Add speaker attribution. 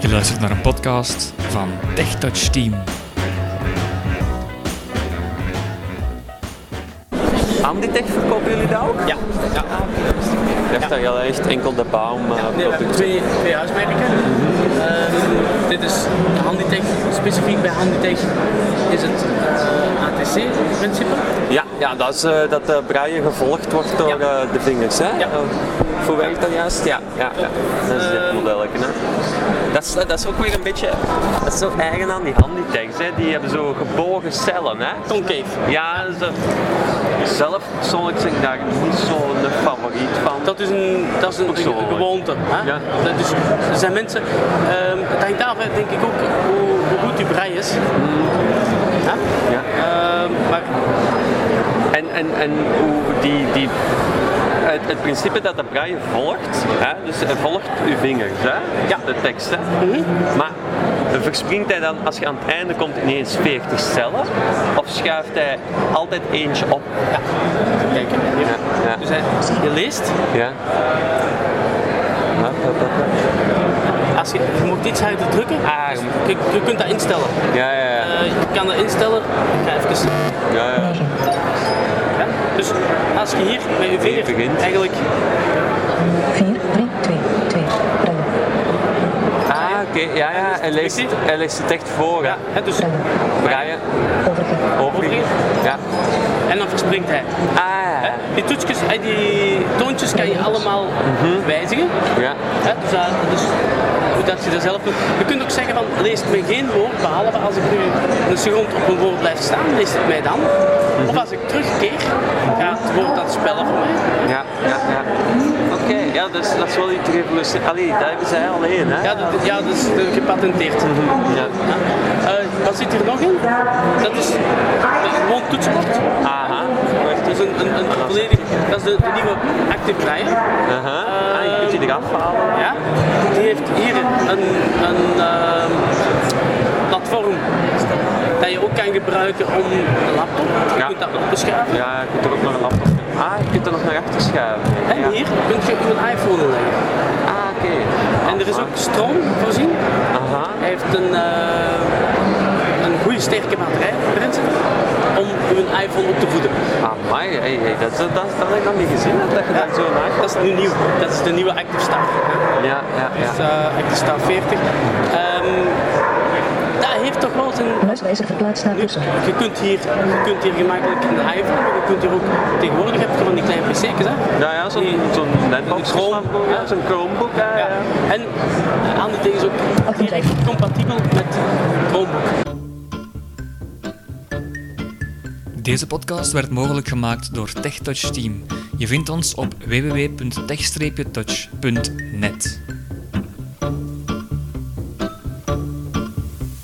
Speaker 1: Je luistert naar een podcast van TechTouch Team.
Speaker 2: Amditech verkopen jullie dat ook?
Speaker 3: Ja, ja.
Speaker 2: Ik dacht dat je echt enkel de Baum eh,
Speaker 3: Nee, we hebben
Speaker 2: producten...
Speaker 3: twee, twee huismerken. Ehm, dit is Handitech. Specifiek bij Handitech is het eh, ATC in principe.
Speaker 2: Ja, ja, dat is eh, dat de braaien gevolgd wordt door
Speaker 3: Ja.
Speaker 2: eh, de vingers, hè?
Speaker 3: Ja.
Speaker 2: Eh, hoe werkt dat juist? Ja, ja, ja. dat is dit
Speaker 3: Ehm.
Speaker 2: model. Hè? Dat, is, dat is ook weer een beetje... Dat is zo eigen aan die handitechs, hè? Die hebben zo gebogen cellen, hè?
Speaker 3: Concave.
Speaker 2: Ja, dat is dat- zelf persoonlijk zeg ik daar niet zo'n favoriet van.
Speaker 3: Dat is een, dat is een, een
Speaker 2: Persoonlijk.
Speaker 3: gewoonte. Hè?
Speaker 2: Ja.
Speaker 3: Dat is, er zijn mensen, ehm, het hangt af, hè, denk ik ook, hoe, hoe goed die brei is. Hè?
Speaker 2: Ja.
Speaker 3: Ehm, maar
Speaker 2: En, en, en hoe die, die, het, het principe dat de braille volgt, hè, dus hij volgt uw vingers, hè,
Speaker 3: Ja.
Speaker 2: de tekst. Hè. Maar verspringt hij dan als je aan het einde komt ineens 40 cellen? Of schuift hij altijd eentje op?
Speaker 3: kijk, hier.
Speaker 2: Ja.
Speaker 3: Dus hè, je leest,
Speaker 2: Ja. Ja, dat- dat-
Speaker 3: als je, je moet iets harder drukken,
Speaker 2: Ah, je moet-
Speaker 3: je, je kunt dat instellen.
Speaker 2: ja, ja, ja.
Speaker 3: Eh, je kan dat instellen, ik ga even
Speaker 2: ja, ja.
Speaker 3: Ja, Dus als je hier met je
Speaker 2: Hier
Speaker 3: vinger
Speaker 2: begint.
Speaker 3: eigenlijk
Speaker 4: 4, 3, 2, 2, brillen,
Speaker 2: Ah, oké. Ja, ja. Hij leest,
Speaker 3: Zie je?
Speaker 2: hij leest het echt voor, hè.
Speaker 3: ja, hè, dus,
Speaker 4: brillen,
Speaker 2: Braille,
Speaker 4: overgeven.
Speaker 2: overige. Ja.
Speaker 3: en dan verspringt hij.
Speaker 2: Ah, ja.
Speaker 3: Die toetjes, hè, die toontjes kan je allemaal wijzigen.
Speaker 2: Ja.
Speaker 3: Hè, dus dat, dus hoe dat je dat zelf doet. Je kunt ook zeggen van lees me geen woord, behalve als ik nu een seconde op een woord blijf staan, leest het mij dan. Of als ik terugkeer, gaat het woord dat spellen voor mij.
Speaker 2: Ja, ja, ja. Oké, ja, dat is, dat is wel iets revolutie. Allee, daar hebben zij al één, hè?
Speaker 3: Ja, dat, ja, dat is eh, gepatenteerd.
Speaker 2: Ja.
Speaker 3: Ja. Eh, wat zit hier nog in? Dat is eh, gewoon toetsenbord.
Speaker 2: Aha.
Speaker 3: Dat is een, een, een volledig, dat is de, de nieuwe Active Brian.
Speaker 2: Aha. Ah, je kunt die eraf halen.
Speaker 3: Ja? Die heeft hier een, een ehm, platform dat je ook kan gebruiken om de laptop. Je
Speaker 2: Ja.
Speaker 3: kunt dat opschuiven.
Speaker 2: Ja, je kunt er ook nog een laptop in. Ah, je kunt er nog naar achter schuiven.
Speaker 3: En
Speaker 2: Ja.
Speaker 3: hier kun je je iPhone in leggen.
Speaker 2: Ah, oké.
Speaker 3: En er is ook stroom voorzien.
Speaker 2: Aha.
Speaker 3: Hij heeft een, eh, een goede sterke batterij erin zitten om je iPhone op te voeden.
Speaker 2: Amai, hey, hey, dat, is- dat, dat, dat had ik nog niet gezien, dat, dat je dat zo naar...
Speaker 3: Dat is nu nieuw. Dat is de nieuwe Active Star.
Speaker 2: Ja, ja, ja.
Speaker 3: Dus eh, ik sta 40. Ehm, dat heeft toch wel zijn.
Speaker 4: Muiswijzer verplaatst naar
Speaker 3: Nu,
Speaker 4: kussen.
Speaker 3: Je kunt, hier, je kunt hier gemakkelijk een iPhone, maar je kunt hier ook tegenwoordig heb je van die kleine pc's. Hè?
Speaker 2: Ja, ja, zo'n
Speaker 3: Die-
Speaker 2: zo'n netbox.
Speaker 3: Chrome.
Speaker 2: Chromebook, ja, zo'n Chromebook, ja, ja.
Speaker 3: Ja. En eh, aan de ding is ook direct compatibel met Chromebook.
Speaker 1: Deze podcast werd mogelijk gemaakt door TechTouch Team. Je vindt ons op www.tech-touch.net.